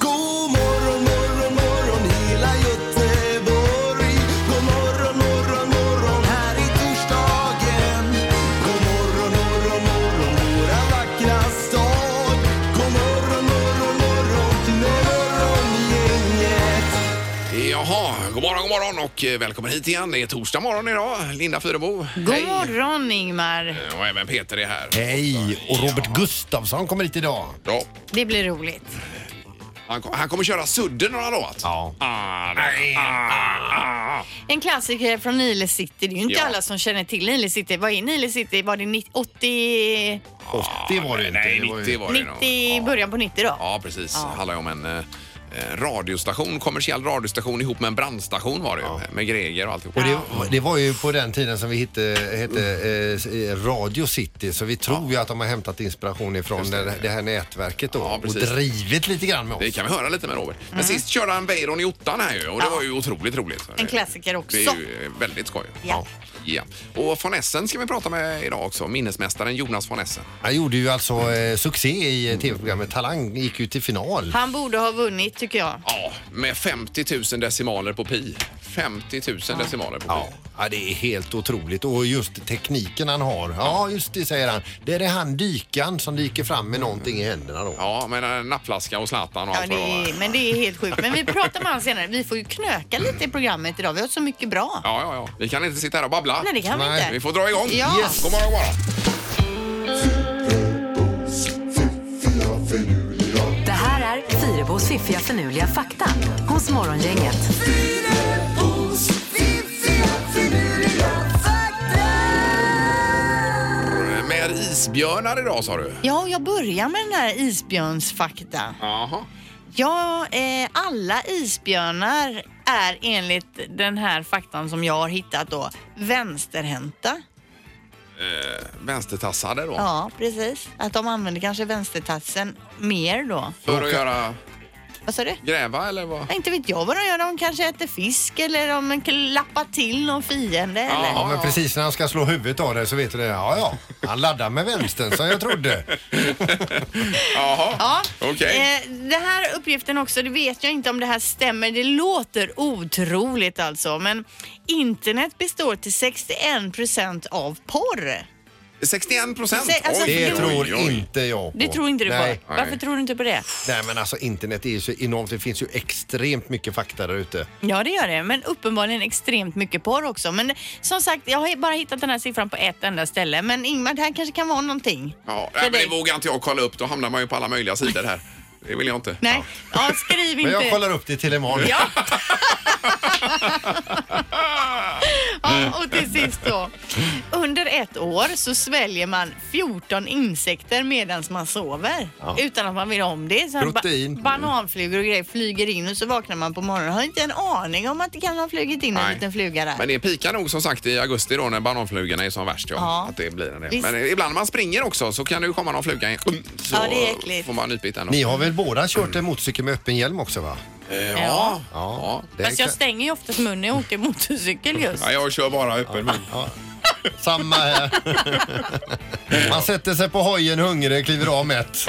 God morgon, morgon, morgon hela Göteborg. God morgon, morgon, morgon här i torsdagen. God morgon, morgon, morgon våra vackra stad. God morgon, morgon, morgon morgongänget. Jaha, god morgon, god morgon och eh, välkommen hit igen. Det är torsdag morgon idag. Linda Fyrebo. God morgon Ingmar. Eh, Och även Peter är här. Hej! Och Robert Gustafsson kommer hit idag. Ja, Det blir roligt. han, kom, han kommer köra sudden några dagar. Ja. Ah, nej. Ah, En klassiker från Nile City. Det är ju inte Ja. alla som känner till Nile City. Vad är Nile City? Var det 90, 80, 80 var det ju inte. nej, det var 90 ju... var det 90 nog. början på 90 då? Ja, precis. Det handlar ju om en eh, eh, radiostation, kommersiell radiostation ihop med en brandstation var det ju. Med Greger och alltihop. Och det, det var ju på den tiden som vi hittade, hette eh, s- eh, Radio City så vi tror ju att de har hämtat inspiration ifrån det. Det, här nätverket då Ja, och precis. drivit lite grann med oss. Det kan vi höra lite med Robert. Mm. Men sist körde han Weiron i ottan här ju och det var ju otroligt roligt. En klassiker också. Det är ju eh, väldigt skoj. Ja. ja. Och von Essen ska vi prata med idag också. Minnesmästaren Jonas von Essen. Han gjorde ju alltså eh, succé i eh, tv-programmet Talang, gick ju till final. Han borde ha vunnit tycker jag. Ja, med 50 000 decimaler på pi. 50 000 decimaler på pi. Ja. ja, det är helt otroligt och just tekniken han har. Ja, just det säger han. Det är det han dykan som dyker fram med någonting i händerna då. Ja, med en nappflaska och Zlatan och Ja, allt det vad det var. är, men det är helt sjukt. Men vi pratar med honom senare. Vi får ju knöka lite i programmet idag. Vi har så mycket bra. Ja, ja, ja. Vi kan inte sitta här och babbla. Nej, det kan Nej. vi inte. Vi får dra igång. Ja. Yes. God morgon, god morgon. Det här är Fyrabos fiffiga förnuliga fakta hos Morgongänget. Fyrabos fiffiga finurliga fakta. Med isbjörnar idag sa du? Ja, och jag börjar med den här isbjörnsfakta. Jaha. Ja, eh, alla isbjörnar är enligt den här faktan som jag har hittat då vänsterhänta. Eh, Vänstertassade då? Ja, precis. Att de använder kanske vänstertassen mer då. För att göra Vad sa du? gräva eller vad? Ja, inte vet jag vad de gör. De kanske äter fisk eller de klappar till någon fiende. Eller? Ja, men precis när han ska slå huvudet av dig så vet du det. Ja, ja. Han laddar med vänstern som jag trodde. Jaha. Ja. Okej. Eh, den här uppgiften också, det vet jag inte om det här stämmer. Det låter otroligt alltså, men internet består till 61 procent av porr. 61 procent? Se- alltså, Det Oj, tror inte jag på. Det tror inte du Nej. på. Varför Nej. tror du inte på det? Nej, men alltså internet är ju så enormt. Det finns ju extremt mycket fakta där ute. Ja, det gör det. Men uppenbarligen extremt mycket porr också. Men som sagt, jag har bara hittat den här siffran på ett enda ställe. Men Ingmar, det här kanske kan vara någonting. Ja, För nej, men dig. det vågar inte jag kolla upp. Då hamnar man ju på alla möjliga sidor här. Det vill jag inte. Nej, ja, skriv Men inte. jag kollar upp det till imorgon. Ja. ja, och till sist då. Under ett år så sväljer man 14 insekter medan man sover utan att man vill om det. Så Protein. Ba bananflugor och grejer flyger in och så vaknar man på morgonen och har inte en aning om att det kan ha flugit in en Nej. liten fluga där. Men det pikar nog som sagt i augusti då när bananflugorna är som värst. Ja. Ja. Att det blir en del. Visst. Men ibland man springer också så kan det ju komma någon fluga in. Så Ja, det är äckligt. får man nypigt ändå. Ni har väl båda kört en motorcykel med öppen hjälm också va? Eh, Ja. Ja. Ja. Det Fast kan- Alltså, jag stänger ju oftast munnen när jag åker motorcykel just. ja, jag kör bara öppen mun. Samma här. Man sätter sig på hojen hungrig, kliver av mätt.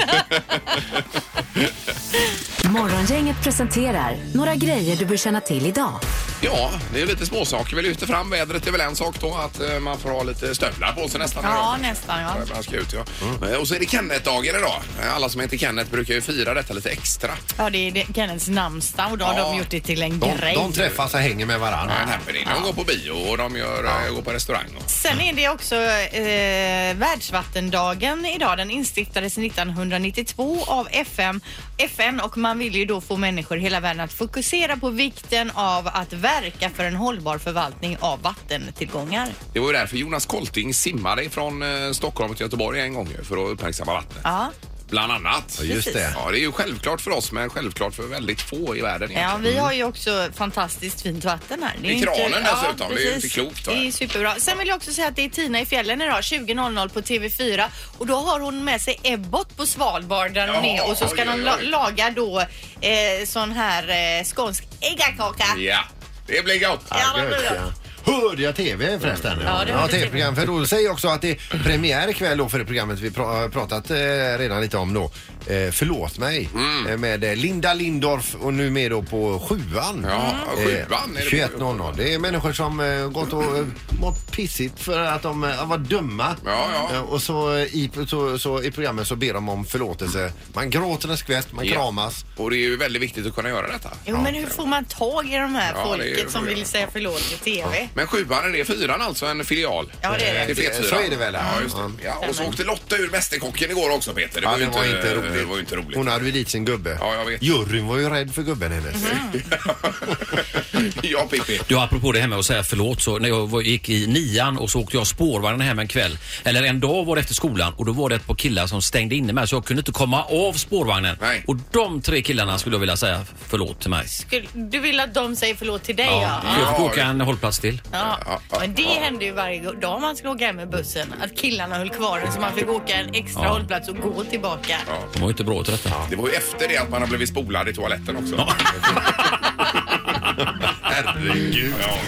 Morgongänget presenterar några grejer du bör känna till idag. Ja, det är ju lite småsaker. Vi lyfter fram vädret är väl en sak då att eh, man får ha lite stövlar på sig nästan. Ja, nästan ja. Man ska ut, ja. Mm. Eh, Och så är det Kenneth-dagen idag. Eh, Alla som heter Kenneth brukar ju fira detta lite extra. Ja, det är det- Kenneths namnsdag och då har Ja. de gjort det till en De, grej. de träffas och hänger med varandra. En happening. De går på bio och de gör, eh, går på restaurang. Och... Sen är det också eh, världsvattendagen idag. Den instiftades 1992 av FN, FN och man vill ju då få människor i hela världen att fokusera på vikten av att verka för en hållbar förvaltning av vattentillgångar. Det var ju eh, därför Jonas Kolting simmade från Stockholm till Göteborg en gång ju, för att uppmärksamma vattnet. Ja. Bland annat. Ja, just det. Ja, det är ju självklart för oss, men självklart för väldigt få i världen. Ja, egentligen. vi har ju också fantastiskt fint vatten här. Det Mm. I ju kranen dessutom. Det är ju precis. inte klokt, va? Det är superbra. Sen vill jag också säga att det är Tina i fjällen idag 20.00 på TV4 och då har hon med sig Ebbot på Svalbard där hon Ja, är och så ska oj, de oj, la- oj. laga då eh, sån här eh, skånsk äggakaka. Ja, det blir gott. Ja, vad Gött, bra. ja. Hörde jag TV förresten? Ja, det hörde du. TV-program. För då säger jag också att det är premiär ikväll då för det programmet vi pra- har pratat eh, redan lite om då. Eh, förlåt mig. Mm. Eh, med eh, Linda Lindorff och nu med då på sjuan. Ja, sjuan är det på. Eh, 21.00. Det är människor som eh, gått och eh, mått pissigt för att de eh, var dumma. Ja, ja. Eh, och så, eh, i, så, så i programmet så ber de om förlåtelse. Man gråter en skvätt, man Ja. kramas. Och det är ju väldigt viktigt att kunna göra detta. Jo, men hur får man tag i de här Ja, det är ju folket som problem. vill säga förlåt i TV? Men sjuan, är det fyran alltså? En filial? Ja, det är det. Till Fetfyran. Så är det väl, ja. Ja, just det. Ja, och så åkte Lotta ur Mästerkocken igår också, Peter. Det var, Ja, ju det var inte roligt. Det var ju inte roligt. Hon hade ju dit sin gubbe. Ja, jag vet. Mm-hmm. Juryn var ju rädd för gubben hennes. ja, Pippi. Du, apropå det här med att säga förlåt, så när jag var, gick i nian och så åkte jag spårvagn hem en kväll. Eller en dag var det efter skolan och då var det ett par killar som stängde inne mig så jag kunde inte komma av spårvagnen. Nej. Och de tre killarna skulle jag vilja säga förlåt till mig. Skulle- Du vill att de säger förlåt till dig, ja? Så jag fick åka en hållplats till. Ja, men det hände ju varje go- dag man skulle åka hem med bussen. Att killarna höll kvar den så man fick åka en extra hållplats och gå tillbaka. De var ju inte bra till detta. Det var ju efter det att man har blivit spolad i toaletten också. Herregud. Ja.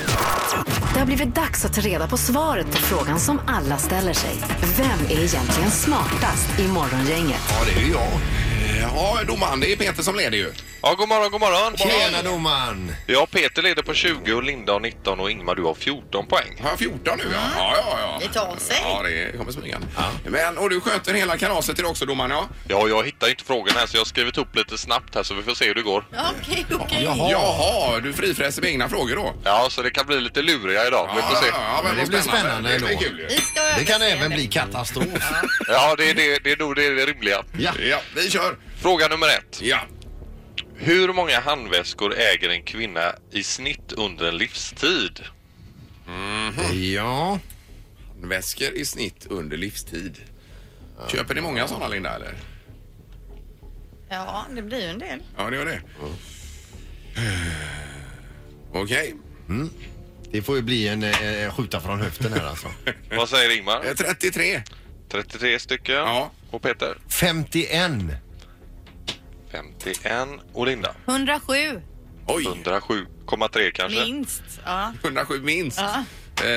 Det har blivit dags att ta reda på svaret på frågan som alla ställer sig. Vem är egentligen smartast i Morgongänget? Ja, det är ju jag. Eh, ja, domaren, det är Peter som leder ju. Ja, god morgon, god morgon. Tjena domaren! Ja, Peter leder på 20 och Linda har 19 och Ingmar du har 14 poäng. Har jag 14 nu? Ja, ja, ja. ja. Mm. Det tar sig. Ja, det kommer smygande. Men, och du sköter hela kalaset idag också, domaren, ja? Ja, jag hittar inte frågan här så jag har skrivit upp lite snabbt här så vi får se hur det går. Okej, okej. Jaha, Jaha du frifräser med egna frågor då? Ja, så det kan bli lite luriga idag. Vi får se. Men det vad blir spännande Det blir ändå. kul ju. Vi ska Det kan överse även det. bli katastrof. Ja, det är, det, det är nog det, det rimliga. Ja. Ja, vi kör. Fråga nummer ett. Ja. Hur många handväskor äger en kvinna i snitt under en livstid? Ja. Väskor i snitt under livstid. Köper ni många sådana, Linda, eller? Ja, det blir ju en del. Ja, det gör det. Okej. Det får ju bli en eh, skjuta från höften här alltså. Vad säger Ingmar? Eh, 33. 33 stycken. Ja. Och Peter? 51. 51. Och Linda? 107 Oj, 107,3 kanske? minst. Ja, 107 minst.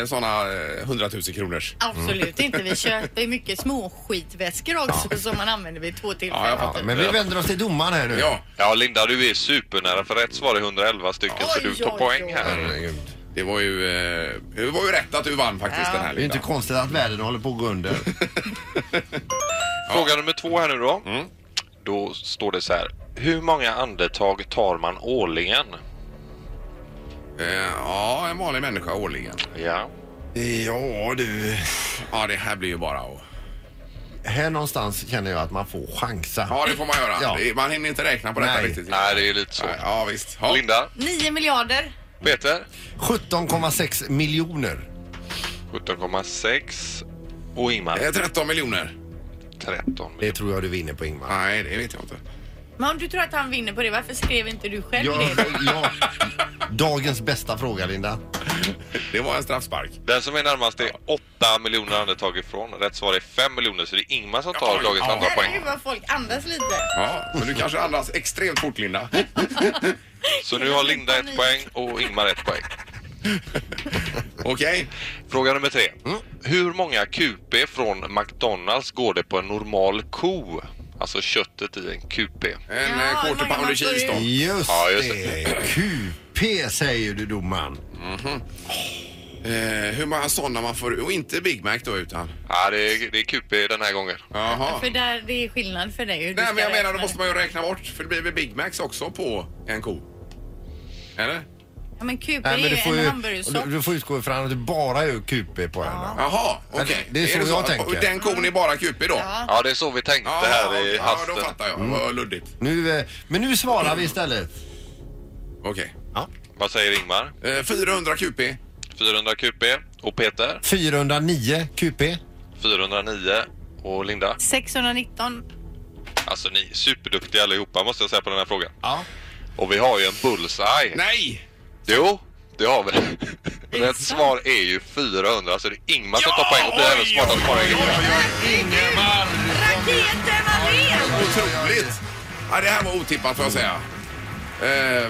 Eh, sådana eh, 100 000 kronors. absolut inte. Vi köper ju mycket små skitväskor också som man använder vid två Ja, jag tillfällen. fattar. Men vi vänder oss till domaren här nu. Ja, Ja, Linda, du är supernära för rätt svar är 111 stycken så Oj, du tar oj, poäng oj. här. Mm. Herregud. det var ju, eh, det var ju rätt att du vann faktiskt Ja. den här Det är ju inte Linda. konstigt att världen håller på att gå under. Fråga nummer två här nu då. Mm. Då står det så här. Hur många andetag tar man årligen? Eh, ja, en vanlig människa årligen. Ja. Ja, du. Ja, det här blir ju bara att... Här någonstans känner jag att man får chansa. Ja, det får man göra. Ja. Det- Man hinner inte räkna på detta Nej. riktigt. Nej, det är lite så. Ja, visst. Ja. Linda, 9 miljarder. Peter? 17,6 miljoner. 17,6 och Ingmar Eh, 13 miljoner. 13. Det tror jag du vinner på Ingmar. Nej, det vet jag inte. Men om du tror att han vinner på det, varför skrev inte du själv Ja, det? ja. Dagens bästa fråga Linda. Det var en straffspark. Den som är närmast är 8 miljoner andetag ifrån. Rätt svar är 5 miljoner så det är Ingmar som tar Oj, dagens ja. andra poäng. Herregud vad folk andas lite. Ja, men du kanske andas extremt fort, Linda. Så nu har Linda ett poäng och Ingmar ett poäng. Okej. Fråga nummer tre. Mm. Hur många QP från McDonalds går det på en normal ko? Alltså köttet i en QP. En Ja, ja, hur quarter många pounder man får cheese då. Just, Ja, just det. QP säger du domaren. Eh, hur många sådana man får... Och inte Big Mac då, utan... Ja, det är, det är QP den här gången. Jaha. För där, det är skillnad för dig. hur du Nej, ska men jag menar, då räkna måste man ju räkna bort. För det blir väl Big Macs också på en ko? Eller? Ja, men QP Nej, men är du får ju en ju, hamburgersort. du, du får utgå ifrån att du bara gör QP på henne. Jaha, okej. det är så jag tänker. Den kon är bara kupi då? Ja. Ja, det är så vi tänkte här i ja, hasten. då fattar jag. Mm. Vad luddigt. Nu, eh, men nu svarar vi istället. Okej. Vad säger Ingmar? Eh, 400 kupi. 400 QP. Och Peter? 409 QP. 409. Och Linda? 619. Alltså ni är superduktiga allihopa måste jag säga på den här frågan. Ja. Och vi har ju en bullseye. Nej! Jo, det har vi. Men Rätt svar är ju 400 så det är Ingmar som tar poäng och blir även smartast på Ingemar! Raketen Ahlén! Otroligt! Ja, det här var otippat får jag säga. Eh,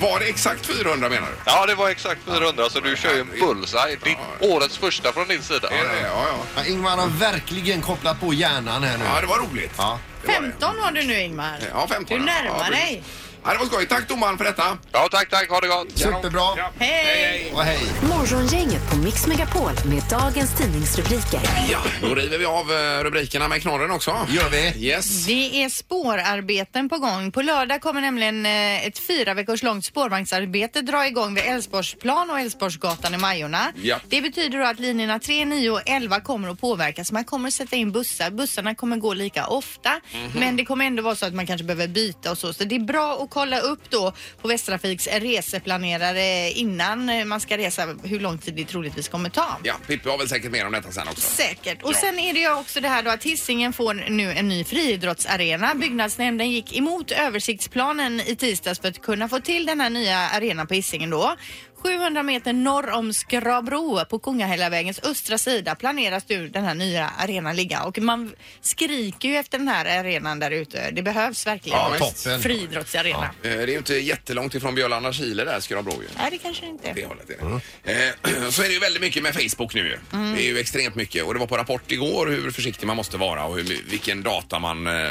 var det exakt 400 menar du? Ja, det var exakt 400 så du kör ju en bullseye. Ditt, årets första från din sida. Är det det? Ja, ja. Ja, Ingmar har verkligen kopplat på hjärnan här nu. Ja, det var roligt. Ja. 15 har du nu Ingmar. Eh, Ja, 15. Du ja, närmar precis. dig. Ja, det var skoj. Tack domaren för detta. Ja, tack, tack. Ha det gott. Superbra. Hej! Och hej. Morgongänget på Mix Megapol med dagens tidningsrubriker. Ja, då river vi av eh, rubrikerna med knorren också. Gör vi. Yes. Det är spårarbeten på gång. På lördag kommer nämligen eh, ett fyra veckors långt spårvagnsarbete dra igång vid Älvsborgsplan och Älvsborgsgatan i Majorna. Ja. Det betyder då att linjerna 3, 9 och 11 kommer att påverkas. Man kommer att sätta in bussar. Bussarna kommer gå lika ofta Mhm. men det kommer ändå vara så att man kanske behöver byta och så. Så det är bra att kolla upp då på Västtrafiks reseplanerare innan eh, man ska resa hur lång tid det troligtvis kommer ta. Ja, Pippi har väl säkert mer om detta sen också. Säkert. Och Ja. sen är det ju också det här då att Hisingen får nu en ny friidrottsarena. Byggnadsnämnden gick emot översiktsplanen i tisdags för att kunna få till den här nya arenan på Hisingen då. 700 meter norr om Skrabro på Kungahällavägens östra sida planeras nu den här nya arenan ligga och man skriker ju efter den här arenan där ute. Det behövs verkligen. Ja, toppen. Friidrottsarena. Eh, Det är ju inte jättelångt ifrån Björlanda, Kile där, Skurabro ju. Nej, det kanske det inte är. Det hållet är det. Eh, Så är det ju väldigt mycket med Facebook nu ju. Mm. Det är ju extremt mycket och det var på Rapport igår hur försiktig man måste vara och hur, vilken data man eh,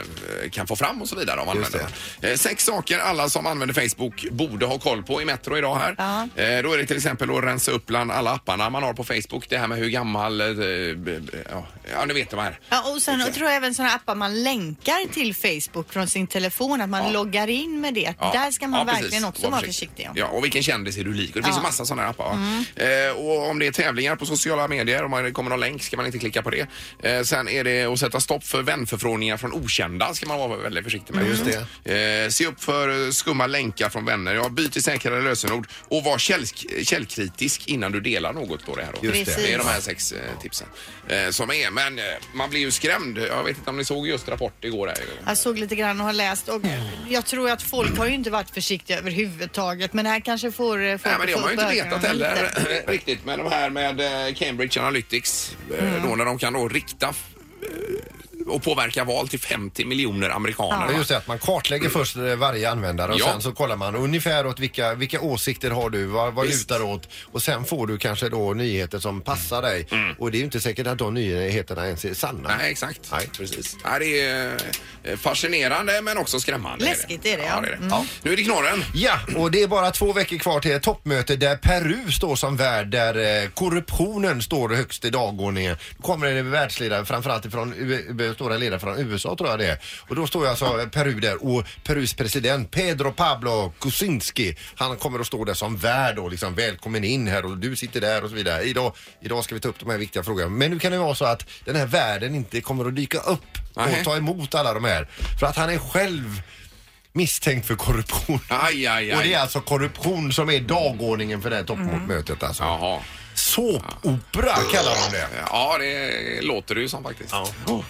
kan få fram och så vidare om man använder det. Eh, Sex saker alla som använder Facebook borde ha koll på i Metro idag här. Ja. Eh, Då är det till exempel att rensa upp bland alla apparna man har på Facebook. Det här med hur gammal, eh, b- b- ja, ja nu vet de här. Ja, och sen och tror jag även sådana appar man länkar till Facebook från sin telefon, att man loggar in med det. Ja. Där ska man Ja, precis. verkligen också vara försiktig. Ja, och vilken kändis är du lik? Och Det finns Ja. Mm. ju massa sådana här appar. va? Eh, och om det är tävlingar på sociala medier, om det kommer någon länk ska man inte klicka på det. Eh, sen är det att sätta stopp för vänförfrågningar från okända ska man vara väldigt försiktig med. Just det. Eh, se upp för eh, skumma länkar från vänner. Ja, byt till säkrare lösenord och var källsk- källkritisk innan du delar något på det här. Då. Just det. det är de här sex eh, tipsen eh, som är. Men eh, man blir ju skrämd. Jag vet inte om ni såg just Rapport igår. Här. Jag såg lite grann och har läst och jag tror att folk har ju inte varit försiktiga överhuvudtaget men det här kanske får eh, folk Nej, men det har att man ju få upp inte vetat ögonen lite. heller riktigt. Men de här med eh, Cambridge Analytics, eh, Mm. då när de kan då rikta eh, och påverka val till 50 miljoner amerikaner. Ja, va? just det, att man kartlägger först eh, varje användare och Ja. sen så kollar man ungefär åt vilka, vilka åsikter har du, vad, vad Visst. lutar åt och sen får du kanske då nyheter som passar dig och det är ju inte säkert att de nyheterna ens är sanna. Mm. Nej, exakt. Nej. Precis. Nej, det är eh, fascinerande men också skrämmande. Läskigt är det, ja. ja. det, är det. Mm. Ja. Nu är det knorren. Ja, och det är bara två veckor kvar till ett toppmöte där Peru står som värd, där eh, korruptionen står högst i dagordningen. Då kommer det en världsledare, framförallt från U- stora ledare från USA tror jag det är. Och då står ju alltså eh, Peru där och Perus president Pedro Pablo Kuczynski, han kommer att stå där som värd och liksom välkommen in här och du sitter där och så vidare. Idag, idag ska vi ta upp de här viktiga frågorna. Men nu kan det vara så att den här världen inte kommer att dyka upp Nej. och ta emot alla de här. För att han är själv misstänkt för korruption. Aj, aj, Och det är aj. alltså korruption som är dagordningen för det här toppmötet alltså. Jaha. Såpopera kallar de det. Ja, det låter det ju som faktiskt. Ja, ja. ja.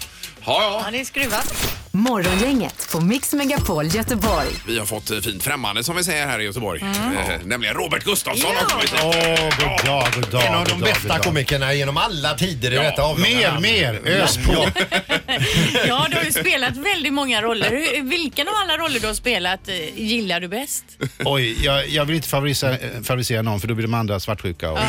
Ja, det är skruvat. Morgongänget på Mix Megapol Göteborg. Vi har fått eh, fint främmande som vi säger här i Göteborg. Eh, nämligen Robert Gustafsson har Mm. Ja. kommit Åh, god dag, god dag. En av de god dag, bästa god dag. komikerna genom alla tider i Ja, detta avlånga Mer, land. mer, ös på. Ja, du har ju spelat väldigt många roller. Hur- Vilken av alla roller du har spelat eh, gillar du bäst? Oj, jag, jag vill inte favorisera, favorisera någon för då blir de andra svartsjuka och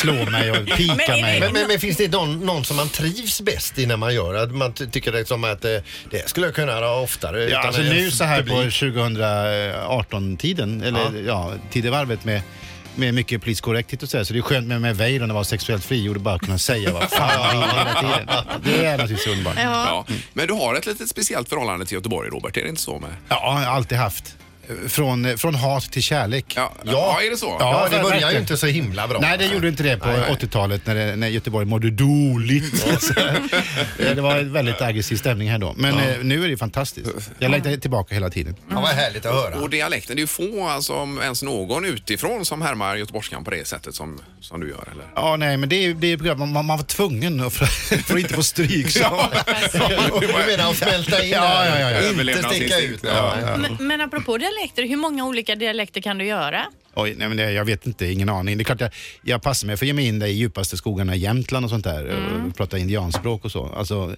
slår mig och Men är pikar det- mig. Men, men, men finns det någon, någon som man trivs bäst i när man gör det? Att man ty- tycker liksom att eh, det skulle jag kunna göra oftare. Ja, utan alltså en nu så här på publik. 2018-tiden, eller ja, tidevarvet med med mycket politisk korrekthet och sådär. Så det är skönt med med Weiron att vara sexuellt frigjord och bara kunna säga vad fan jag vill hela tiden. Det är naturligtvis underbart. Ja, Ja. Men du har ett litet speciellt förhållande till Göteborg, Robert. Är det inte så? med jag har alltid haft. från, från hat till kärlek. Ja, ja, är det så? Ja, Ja, det börjar verkligen. ju inte så himla bra. Nej, det gjorde inte det på 80-talet när, det, när Göteborg mådde dåligt. Så här. det var en väldigt aggressiv stämning här då. Men Ja. eh, nu är det fantastiskt. Jag längtar tillbaka hela tiden. Ja, vad härligt att höra. Och dialekten, det är ju få, alltså, om ens någon utifrån som härmar göteborgskan på det sättet som, som du gör. Eller? Ja, nej, men det är, det är program man, man var tvungen för, för att inte få stryk. Så. Du menar att smälta in Ja, ja, ja, här? ja. Inte sticka ut? Överlevnadsinstinkt. Ja, ja. Men, men apropå dialekter, hur många olika dialekter kan du göra? Oj, nej, men det, jag vet inte, ingen aning. Det är klart jag, jag passar mig för att ge mig in där i djupaste skogarna i Jämtland och sånt där. Och prata indianspråk och så. Alltså,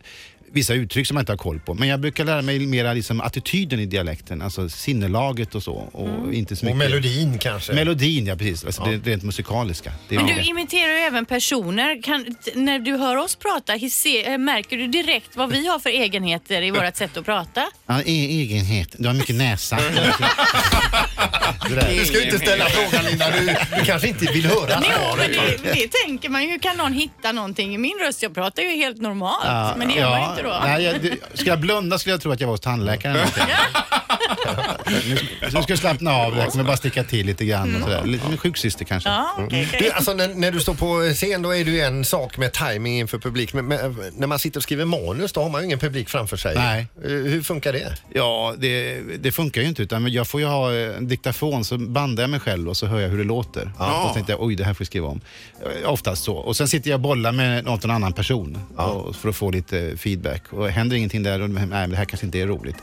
vissa uttryck som jag inte har koll på. Men jag brukar lära mig mera liksom, attityden i dialekten, alltså sinnelaget och så. Och, inte så Och mycket. melodin kanske? Melodin, ja precis. Alltså, Det, rent musikaliska. Det är Men det. du imiterar ju även personer. Kan, t- när du hör oss prata, hisse, eh, märker du direkt vad vi har för egenheter i vårt sätt att prata? Ja, e- egenhet. Du har mycket näsa. Du ska ju inte ställa frågan Linda, du, du kanske inte vill höra Jo, men svaret. det, det tänker man ju. Hur kan någon hitta någonting i min röst? Jag pratar ju helt normalt, Ja, men det gör man ja. ju inte då. Nej, jag, det- ska jag blunda skulle jag tro att jag var hos tandläkaren. eller någonting. nu, nu ska jag slappna av. Jag kommer bara sticka till lite grann. Mm. Och sådär. Lite med sjuksyster kanske. Du, alltså, när, när du står på scen då är det ju en sak med timing inför publik. Men, men när man sitter och skriver manus då har man ju ingen publik framför sig. Nej. Eh, Hur funkar det? Ja, det, det funkar ju inte. Utan jag får ju ha eh, en diktafon, så bandar jag mig själv och så hör jag hur det låter. Ja. Och så tänkte jag, oj, det här får jag skriva om. Eh, Oftast så. Och sen sitter jag och bollar med någon eh, annan person och, för att få lite feedback. Och händer ingenting där, och, nej, men det här kanske inte är roligt.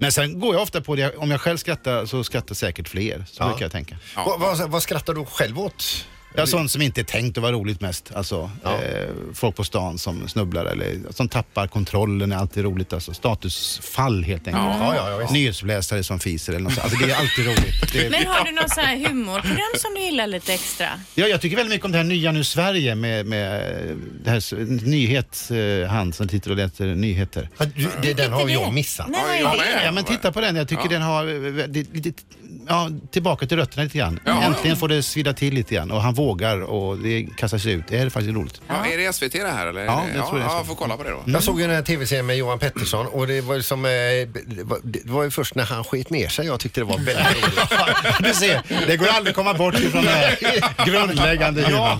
Men sen går jag ofta på det, om jag själv skrattar så skrattar säkert fler. Så brukar jag tänka. Vad, vad, vad skrattar du själv åt? Ja, sånt som inte är tänkt att vara roligt mest. Alltså, eh, folk på stan som snubblar eller som tappar kontrollen är alltid roligt. Alltså, statusfall helt enkelt. Ja, ja, ja, visst. Nyhetsläsare som fiser eller något sånt. Alltså, det är alltid roligt. Det Men har du någon sån här humorprogram som du gillar lite extra? Ja, jag tycker väldigt mycket om det här nya nu Sverige med, med det här s- nyhet, eh, han som tittar och läser nyheter. det, den har jag missat. Nej, vad är det? Ja, men titta på den. Jag tycker Ja. den har eh, det, lite, ja, tillbaka till rötterna lite grann. Äntligen får det svida till lite grann och han vågar och det kastar sig ut. Det är faktiskt roligt. Ja, är det SVT det här? Eller? Ja, jag tror det är Ja, SVT. jag får kolla på det då. Mm. Jag såg ju den här tv-serien med Johan Pettersson och det var ju som, eh, det var- det var ju först när han skit ner sig jag tyckte det var väldigt roligt. Du ser, det går aldrig att komma bort ifrån den här grundläggande humorn.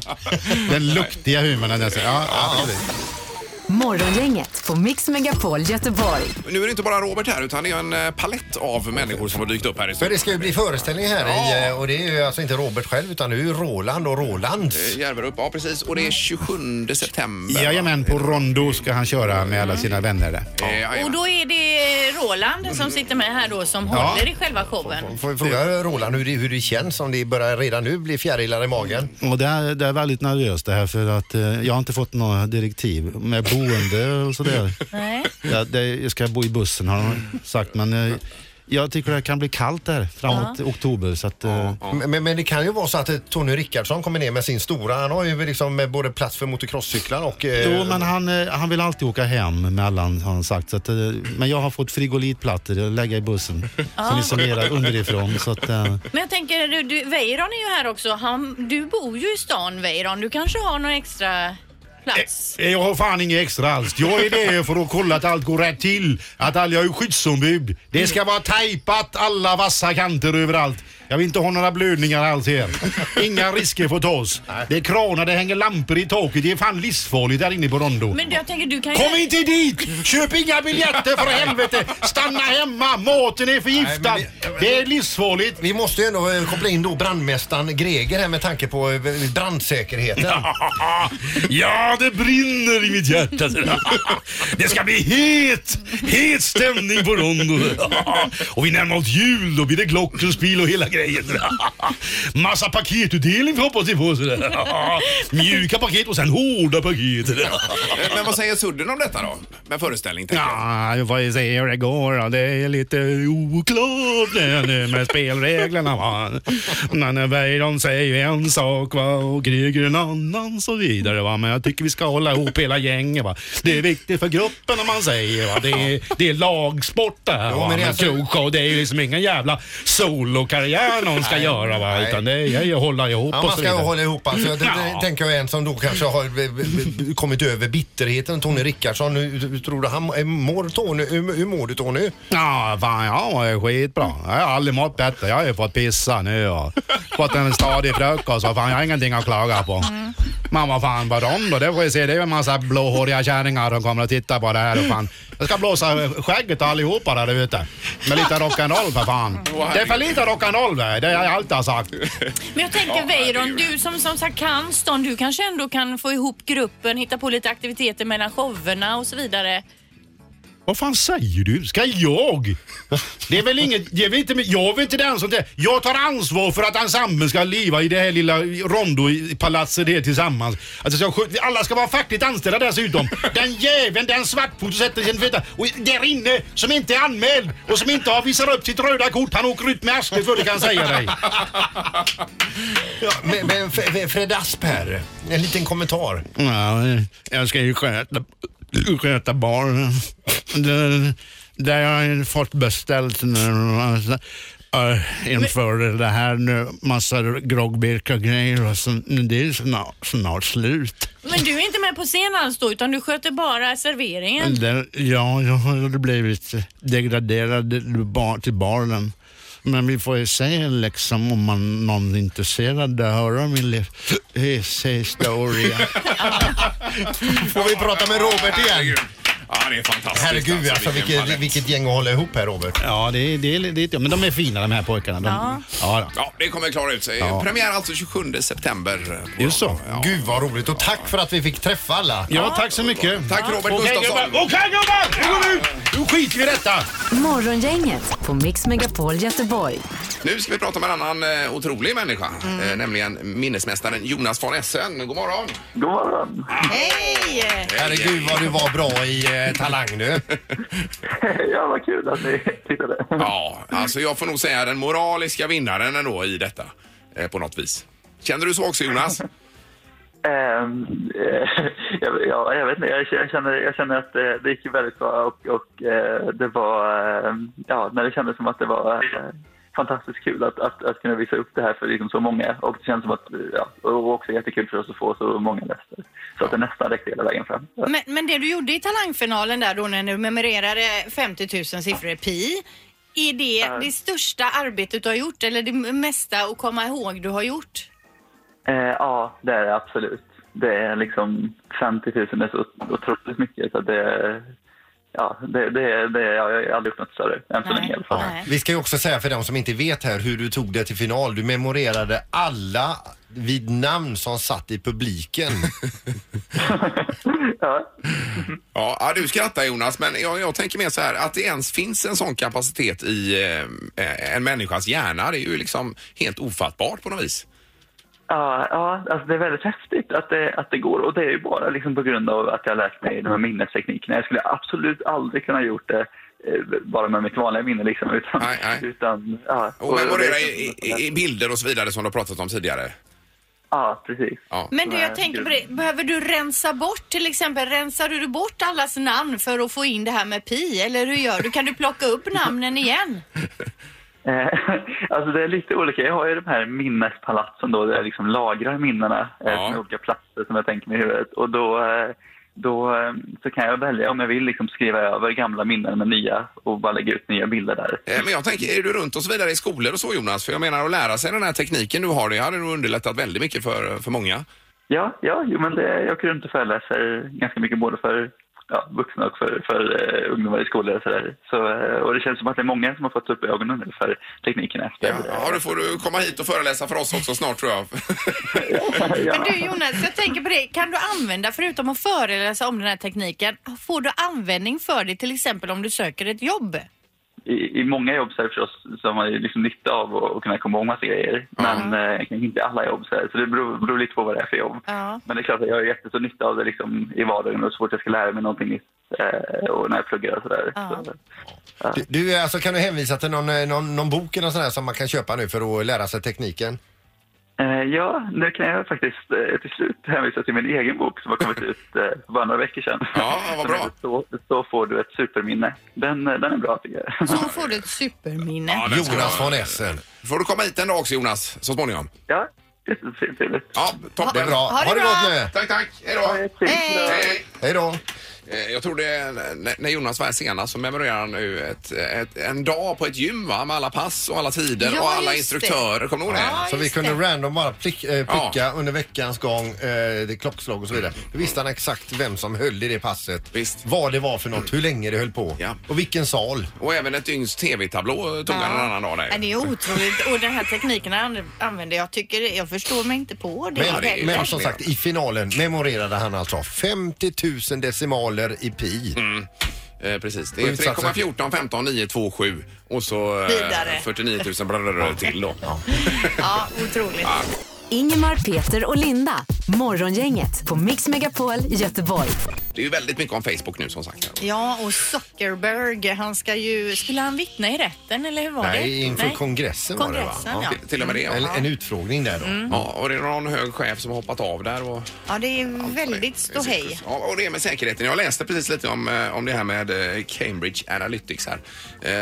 Den luktiga humorn. den där- Ja, ja, precis. Morgongänget på Mix Megapol Göteborg. Nu är det inte bara Robert här utan det är en eh, palett av människor som har dykt upp här i För studion. det ska ju bli föreställning här i, eh, och det är ju alltså inte Robert själv utan det är ju Roland och Rolands. Eh, Järverup, ja precis. Och det är 27 september. Mm. Jajamän, på Rondo ska han köra med alla sina vänner där. Eh, Och då är det Roland Mm. som sitter med här då som Ja. håller i själva showen. Får vi fråga Roland hur det, hur det känns om det börjar redan nu bli fjärilar i magen? Och det är, det är väldigt nervöst det här för att eh, jag har inte fått några direktiv med boende och sådär. Nej. Ja, det, jag ska bo i bussen har de sagt men eh, jag tycker det kan bli kallt där framåt Ja. oktober så att... eh, Men, men det kan ju vara så att eh, Tony Rickardsson kommer ner med sin stora. Han har ju liksom eh, både plats för motocrosscyklar och... eh, Jo, men han, eh, han vill alltid åka hem med alla har han sagt. Så att, eh, men jag har fått frigolitplattor att lägga i bussen som Ja. isolerar underifrån. Så att, eh, Men jag tänker, du, du, Weiron är ju här också. Han, du bor ju i stan Weiron. Du kanske har någon extra plats? Jag har fan inget extra alls. Jag är det för att kolla att allt går rätt till. Att alla, jag är skyddsombud. Det ska vara tejpat alla vassa kanter överallt. Jag vill inte ha några blödningar alls här. Inga risker får tas. Det är kranar, det hänger lampor i taket. Det är fan livsfarligt där inne på Rondo. Men du, jag tänker, du kan ju... eh. Kom inte dit! Köp inga biljetter för helvete! Stanna hemma! Maten är förgiftad! Det är livsfarligt. Vi måste ju ändå eh, koppla in då brandmästaren Greger här med tanke på eh, brandsäkerheten. Ja, det brinner i mitt hjärta. Det ska bli het, het stämning på Rondo. Och vi närmar oss jul, då blir det glockenspiel och hela grejen. Massa paketutdelning hoppas vi på. Mjuka paket och sen hårda paket. Eh, Men vad säger Sudden om detta då? Med föreställning? tänker jag. Ja, vi får ju se hur det går. då. Det är lite oklart det nu med spelreglerna. Va? Men Weiron säger ju en sak va? och Greger en annan så vidare. Va? Men jag tycker vi vi ska hålla ihop hela gänget. Va? Det är viktigt för gruppen om man säger. Va? Det, är, det är lagsport det här. Jo, men va? Men det är alltså- krogshow, det är ju liksom ingen jävla solokarriär någon ska Nej, göra. Va? nej. Utan det är ju att hålla ihop Ja, och man så ska vidare. hålla ihop alltså. Jag tänkte- Ja. tänker jag en som då kanske har b- b- b- kommit över bitterheten. Tony Rickardsson, hur hur tror du han eh, mår Tony? Hur, hur mår du Tony? Ja, fan jag mår skitbra. Jag har aldrig mått bättre. Jag har ju fått pissa nu och fått en stadig frukost. Och fan, jag har ingenting att klaga på. Men vad fan var de då? Det får vi se. Det är ju en massa blåhåriga kärringar som kommer att titta på det här. Och fan. Jag ska blåsa skägget av allihopa där ute. Med lite rock'n'roll för fan. Det är för lite rock'n'roll där. Det har jag alltid har sagt. Men jag tänker Weiron, du som som sagt kan stånd, du kanske ändå kan få ihop gruppen, hitta på lite aktiviteter mellan showerna och så vidare. Vad fan säger du? Ska jag? Det är väl inget... Jag är väl inte, jag är väl inte den som... Jag tar ansvar för att ensemblen ska leva i det här lilla rondopalatset här tillsammans. Alltså, jag, skö- alla ska vara fackligt anställda dessutom. Den jäveln, den svartfot som sätter sin feta... Och där inne, som inte är anmäld och som inte har visat upp sitt röda kort, han åker ut med arslet för det kan jag säga dig. Ja, men, men F- F- Fred Asp här, en liten kommentar. Ja, jag ska ju sköta, sköta barnen. Det, det har jag ju fått beställt nu. Alltså, eh, Inför det här nu, massa groggburkar och grejer. Och så, det är snart, snart slut. Men du är inte med på scen alls då utan du sköter bara serveringen. Det, ja, jag har blivit degraderad till bar- till barnen. Men vi får ju se liksom om man, någon är intresserad att höra min livs historia. Får vi prata med Robert igen? Ja, det är fantastiskt. Herregud alltså vilket, palett. vilket gäng att hålla ihop här Robert. Ja, det, det, det, men de är fina de här pojkarna. De, ja. då. Ja, det kommer klara ut sig. Ja. Premiär alltså 27 september. Just så. Gud vad roligt och tack för att vi fick träffa alla. Ja, tack så mycket. Tack Robert Okej, Gustafsson. gubbar. Okej gubbar, nu går vi ut! Nu skiter vi i detta! Morgongänget på Mix Megapol Göteborg. Nu ska vi prata med en annan eh, otrolig människa, eh, nämligen minnesmästaren Jonas von Essen. God morgon! God morgon! Hej! Herregud vad du var bra i eh, Talang du. ja, vad kul att ni tittade. Ja, alltså jag får nog säga den moraliska vinnaren ändå i detta eh, på något vis. Känner du så också Jonas? Ehm, eh, jag, ja, jag vet inte, jag, jag, känner, jag känner att eh, det gick ju väldigt bra och, och eh, det var, eh, ja, när det kändes som att det var eh, fantastiskt kul att, att, att kunna visa upp det här för liksom så många och det känns som att, eh, ja, och också jättekul för oss att få så många gäster. Så att det nästan räckte hela vägen fram. Men, men det du gjorde i talangfinalen där då när du memorerade 50 000 siffror pi. Är det det största arbetet du har gjort eller det mesta att komma ihåg du har gjort? Eh, ja, det är det absolut. Det är liksom 50 000 är så otroligt mycket. Så det, ja, det, det, det, jag har aldrig gjort något större än så länge i alla fall. Vi ska ju också säga för de som inte vet här hur du tog dig till final. Du memorerade alla vid namn som satt i publiken. Ja, ja, du skrattar Jonas, men jag, jag tänker mer så här att det ens finns en sån kapacitet i eh, en människas hjärna. Det är ju liksom helt ofattbart på något vis. Ja, ja alltså det är väldigt häftigt att det, att det går. Och det är ju bara liksom på grund av att jag har lärt mig de här minnesteknikerna. Jag skulle absolut aldrig kunna ha gjort det eh, bara med mitt vanliga minne. Liksom, utan, utan, ja. Och memorera i, i, i bilder och så vidare som du har pratat om tidigare. Ja, precis. Ja. Men du, jag tänker på det, behöver du rensa bort till exempel, rensar du bort allas namn för att få in det här med pi eller hur gör du? Kan du plocka upp namnen igen? Eh, alltså det är lite olika. Jag har ju de här minnespalatsen då, där jag liksom lagrar minnena eh, Ja. från olika platser som jag tänker mig i huvudet. Och då, eh, då eh, så kan jag välja om jag vill liksom skriva över gamla minnen med nya och bara lägga ut nya bilder där. Eh, Men jag tänker, är du runt och så vidare i skolor och så Jonas? För jag menar att lära sig den här tekniken du har, det hade nog underlättat väldigt mycket för, för många. Ja, ja jo, men det, jag åker runt och föreläser ganska mycket både för ja, vuxna och för, för eh, ungdomar i skolor och sådär. Så, eh, och det känns som att det är många som har fått upp ögonen nu för tekniken efter. Ja, då får du komma hit och föreläsa för oss också snart tror jag. Men du Jonas, jag tänker på det. Kan du använda, förutom att föreläsa om den här tekniken, får du användning för det till exempel om du söker ett jobb? I, I många jobb så är det förstås som man ju liksom nytta av och, och kunna komma ihåg massa grejer. Men eh, kanske inte alla jobb så, här, så det beror, beror lite på vad det är för jobb. Ja. Men det är klart att jag har jättestor nytta av det liksom, i vardagen och så fort jag ska lära mig någonting nytt eh, och när jag pluggar och sådär. Ja. Så, Du, du, alltså, kan du hänvisa till någon, eh, någon, någon bok eller sån här som man kan köpa nu för att lära sig tekniken? Eh, Ja, nu kan jag faktiskt eh, till slut hänvisa till min egen bok som har kommit ut eh, för bara några veckor sedan. Ja, vad bra. Så, så får du ett superminne. Den, eh, den är bra tycker jag. Så får du ett superminne. Jonas von Essen. Får du komma hit en dag också Jonas, så småningom? Ja, jättetrevligt. Ja, Det toppen. är bra. Ha det Ha det bra. gott nu. Tack, tack. Hej då. Hej. Hej då. Eh, Jag tror det, när- när Jonas var här senast så memorerade han nu ett, ett, en dag på ett gym va? med alla pass och alla tider Ja, och alla just det. instruktörer. Kommer du ihåg det? så vi kunde random bara prick, eh, pricka under veckans gång, eh, det klockslag och så vidare. Då visste han exakt vem som höll i det passet. Vad det var för något, hur länge det höll på och vilken sal. Och även ett dygns tv-tablå tog han Ja. en annan dag. Ja, Där. det är otroligt och den här tekniken an- använder jag tycker jag förstår mig inte på det. Men, men som sagt, i finalen memorerade han alltså 50 000 decimaler i pi. Eh, precis, det Och är utsatsen- 3,14, 15, 9, 2, 7 och så eh, Vidare. 49 000 blablabla till då. Ja, otroligt. Ingemar, Peter och Linda. Morgongänget på Mix Megapol Göteborg. Det är ju väldigt mycket om Facebook nu som sagt. Ja, och Zuckerberg, han ska ju... Skulle han vittna i rätten eller hur var Nej, det? inför Kongressen, Kongressen, var det va? ja. Till, till och med det. En, en utfrågning där då. Mm. Ja, och det är någon hög chef som har hoppat av där. Och... Ja, det är väldigt ståhej. Ja, och det är med säkerheten. Jag läste precis lite om, eh, om det här med eh, Cambridge Analytics här.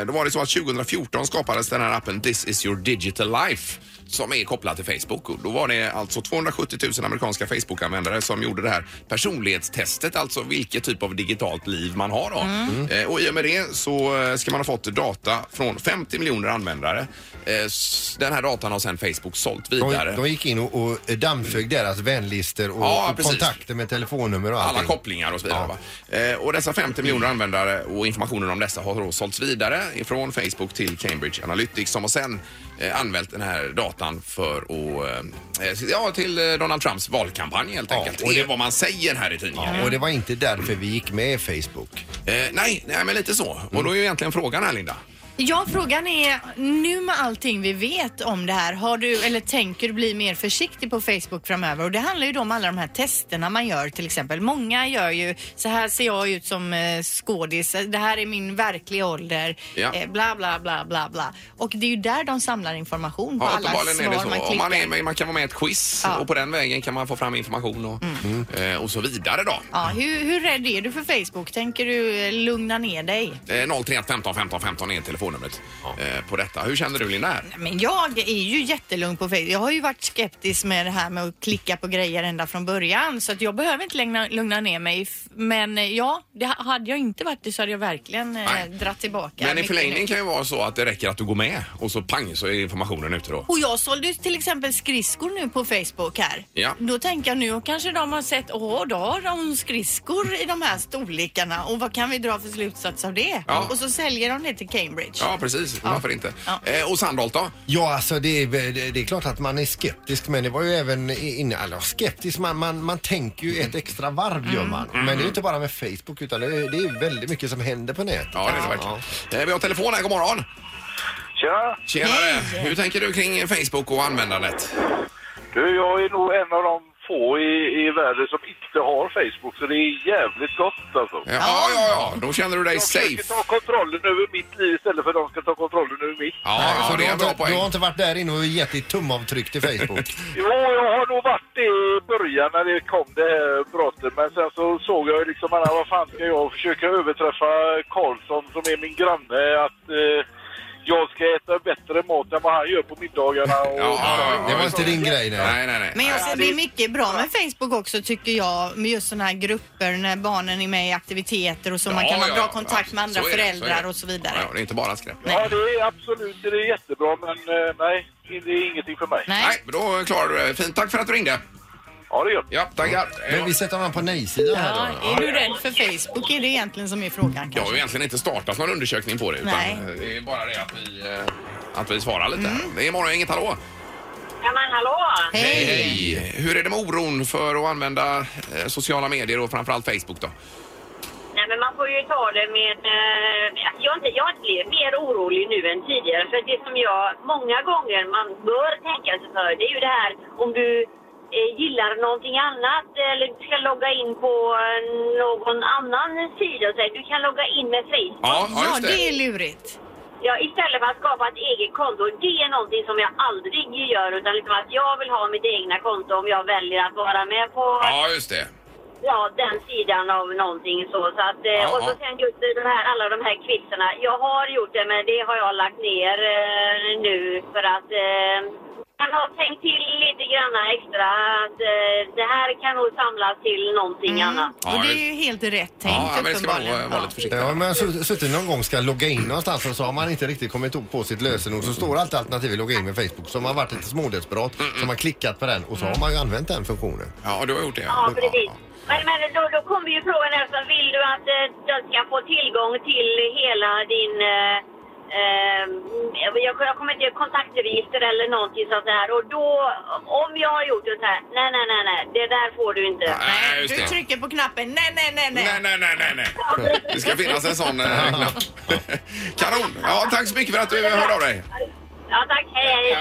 Eh, Då var det så att 2014 skapades den här appen This is your digital life som är kopplad till Facebook. Och då var det alltså 270 000 amerikanska Facebook-användare som gjorde det här personlighetstestet, alltså vilket typ av digitalt liv man har då. Mm. Eh, Och i och med det så eh, ska man ha fått data från 50 miljoner användare. Eh, s- Den här datan har sedan Facebook sålt vidare. De, de gick in och, och dammsög deras vänlistor och, Ja, och precis. kontakter med telefonnummer och allting. alla kopplingar och så vidare. Va? Eh, och dessa 50 miljoner användare och informationen om dessa har då sålts vidare från Facebook till Cambridge Analytics som har sen eh, använt den här datan för att, eh, ja, till eh, Donald Trumps valkampanj helt enkelt. Och det är vad man säger här i tidningen. Och det var inte därför vi gick med i Facebook. Eh, nej, nej, men lite så. Och då är ju egentligen frågan här Linda. Ja, frågan är nu med allting vi vet om det här, har du eller tänker du bli mer försiktig på Facebook framöver? Och det handlar ju då om alla de här testerna man gör till exempel. Många gör ju, så här ser jag ut som eh, skådis, det här är min verkliga ålder, Ja. eh, bla bla bla bla bla. Och det är ju där de samlar information på alla uppenbarligen är det svar man så. Om man, är, klickar. med- man kan vara med i ett quiz Ja. Mm. och på den vägen kan man få fram information och, eh, och så vidare då. Ja, hur, hur rädd är du för Facebook? Tänker du eh, lugna ner dig? Eh, 031 15 15 15 är telefonnumret eh, på detta. Hur känner du Linda? Här? Men jag är ju jättelugn på Facebook. Jag har ju varit skeptisk med det här med att klicka på grejer ända från början så att jag behöver inte lugna, lugna ner mig. F- Men eh, ja, det, ha- hade jag inte varit det så hade jag verkligen eh, dratt tillbaka. Men i mycket förlängningen nu. kan ju vara så att det räcker att du går med och så pang så är informationen ute då. Och jag sålde ju till exempel skridskor nu på Facebook här. Ja. Då tänker jag nu kanske de har sett, åh då har de skridskor i de här storlekarna och vad kan vi dra för slutsats av det? Ja. Och så säljer de det till Cambridge. Ja, precis. Varför inte? Eh, och Sandholt då? Ja, alltså det är, väl- det är klart att man är skeptisk men det var ju även inne, alltså skeptisk, man, man, man tänker Mm. ju ett extra varv gör man. Men det är ju inte bara med Facebook utan det är, det är väldigt mycket som händer på nätet. Ja, det är det verkligen. Eh, vi har telefon här, god morgon. Tja! Tjenare! Hur tänker du kring Facebook och användandet? Du, jag är nog en av de få i, i världen som inte har Facebook, så det är jävligt gott alltså. Ja, ja, ja, ja. då känner du dig safe. Ta kontrollen över mitt liv istället för att de ska ta kontrollen över mitt. Ja, Så det du, är har en bra inte, du poäng. har inte varit där inne och gett ditt tumavtryck till Facebook? Jo, jag har nog varit det i början när det kom det här brottet, men sen så såg jag ju liksom alla, vad fan ska jag försöka överträffa Karlsson som är min granne att eh, jag ska äta bättre mat än vad han gör på middagarna och... det var inte din grej nej. Nej, nej, nej. Men jag ser det är mycket bra med Facebook också tycker jag med just sådana här grupper när barnen är med i aktiviteter och så. Man Ja, kan ha ja, bra ja. kontakt med andra Så är det, så är föräldrar det. och så vidare. Ja, det är inte bara skräp. Ja, det är absolut det är jättebra, men eh, nej, det är ingenting för mig. Nej, då klarar du det. Fint. Tack för att du ringde. Ja, det gör Ja, tackar. Men vi sätter honom på nej-sidan Ja, här då. är du rädd för Facebook? Är det egentligen som är frågan Jag har ju kanske? egentligen inte startat någon undersökning på det utan Nej. eh, det är bara det att vi, eh, att vi svarar lite. här. Det är morgon, inget hallå. Ja, men hallå! Hej, hej! Hur är det med oron för att använda eh, sociala medier och framförallt Facebook då? Nej, men man får ju ta det med... Eh, alltså jag, har inte, jag har inte blivit mer orolig nu än tidigare. För det som jag många gånger man bör tänka sig för, det är ju det här om du eh, gillar någonting annat eller du ska logga in på eh, någon annan sida. Så här, du kan logga in med Facebook. Ja, ja, just det. är lurigt. Ja, istället för att skapa ett eget konto. Det är någonting som jag aldrig gör. Utan liksom att jag vill ha mitt egna konto om jag väljer att vara med på Ja, just det. ja, den sidan av någonting så. så att, eh, Ja, och så ja. sen just de här, alla de här kvitserna. Jag har gjort det, men det har jag lagt ner eh, nu för att eh, man har tänkt till lite grann extra. Att, eh, det här kan nog samlas till någonting Mm. annat. Och det är ju helt rätt tänkt uppenbarligen. Ja, men jag har suttit någon gång ska logga in någonstans och så har man inte riktigt kommit ihåg på sitt lösenord så står alltid alternativet logga in med Facebook. Så har man varit lite smådesperat så har man klickat på den och så har man ju använt den funktionen. Ja, du har gjort det. Ja, precis. Men, men då, då kommer ju frågan efter, vill du att eh, de ska få tillgång till hela din... Eh, eh, jag, jag kommer inte kontaktregister eller någonting sånt här. Och då, om jag har gjort det så här, nej, nej, nej, nej, det där får du inte. Nej, Du just det. trycker på knappen. Nej, nej, nej, nej. Nej, nej, nej, nej, nej. Det ska finnas en sån eh, knapp. Kanon! Ja, tack så mycket för att du hörde av dig. Ja, tack. Hej,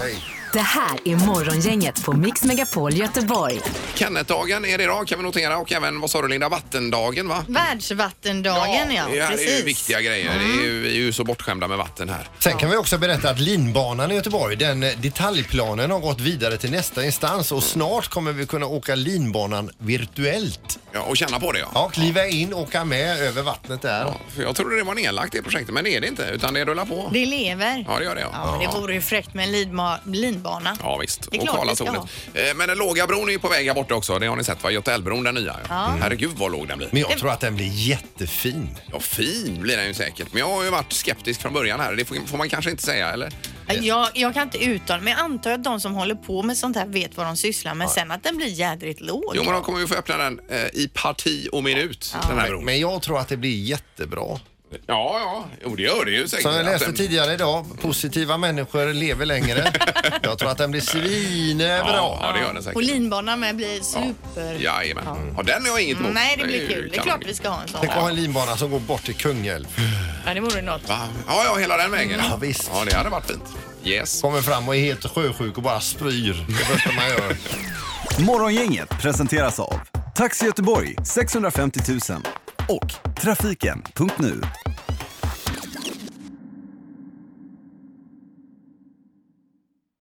hej. Det här är Morgongänget på Mix Megapol Göteborg. Kennetdagen är det idag kan vi notera och även, vad sa du Linda, vattendagen va? Världsvattendagen, ja. det här är ju precis. Mm. viktiga grejer. Det är ju, vi är ju så bortskämda med vatten här. Sen kan vi också berätta att linbanan i Göteborg, den eh, detaljplanen har gått vidare till nästa instans och snart kommer vi kunna åka linbanan virtuellt. Ja, och känna på det ja. Ja, kliva in, åka med över vattnet där. För jag trodde det var nedlagt det projektet, men det är det inte. Utan det rullar på. Det lever. Ja, det gör det, ja. men det vore ju fräckt med en lidma- linbana. Ja, visst. Det är och klart vi ska Karlatornet. Eh, Men den låga bron är ju på väg här borta också. Det har ni sett va? Götaälvbron, den nya. Ja. Mm. Herregud vad låg den blir. Men jag tror att den blir jättefin. Ja, fin blir den ju säkert. Men jag har ju varit skeptisk från början här. Det får får man kanske inte säga, eller? Alltså, Jag, jag kan inte uttala men jag antar att de som håller på med sånt här vet vad de sysslar med. Sen att den blir jädrigt låg. Jo, men de kommer ju få öppna den eh, i parti och minut, den här bron. Men jag tror att det blir jättebra. Ja, ja. Jo, det gör det ju säkert. Som jag Att läste den- tidigare idag, positiva människor lever längre. jag tror att den blir svinebra. Ja, ja, det gör den Och säkert. linbanan med blir super... Jajamän. Ja, den har jag inget emot. Nej, det blir ju kul. Det är kanon. klart vi ska ha en sån. Tänk att ha en linbana som går bort till Kungälv. Ja, det vore något. Va? Ja, ja, hela den vägen. Ja, visst. Ja, det hade varit fint. Yes. Kommer fram och är helt sjösjuk och bara spyr. Det första man gör. Morgongänget presenteras av Taxi Göteborg 650 000 och Trafiken.nu.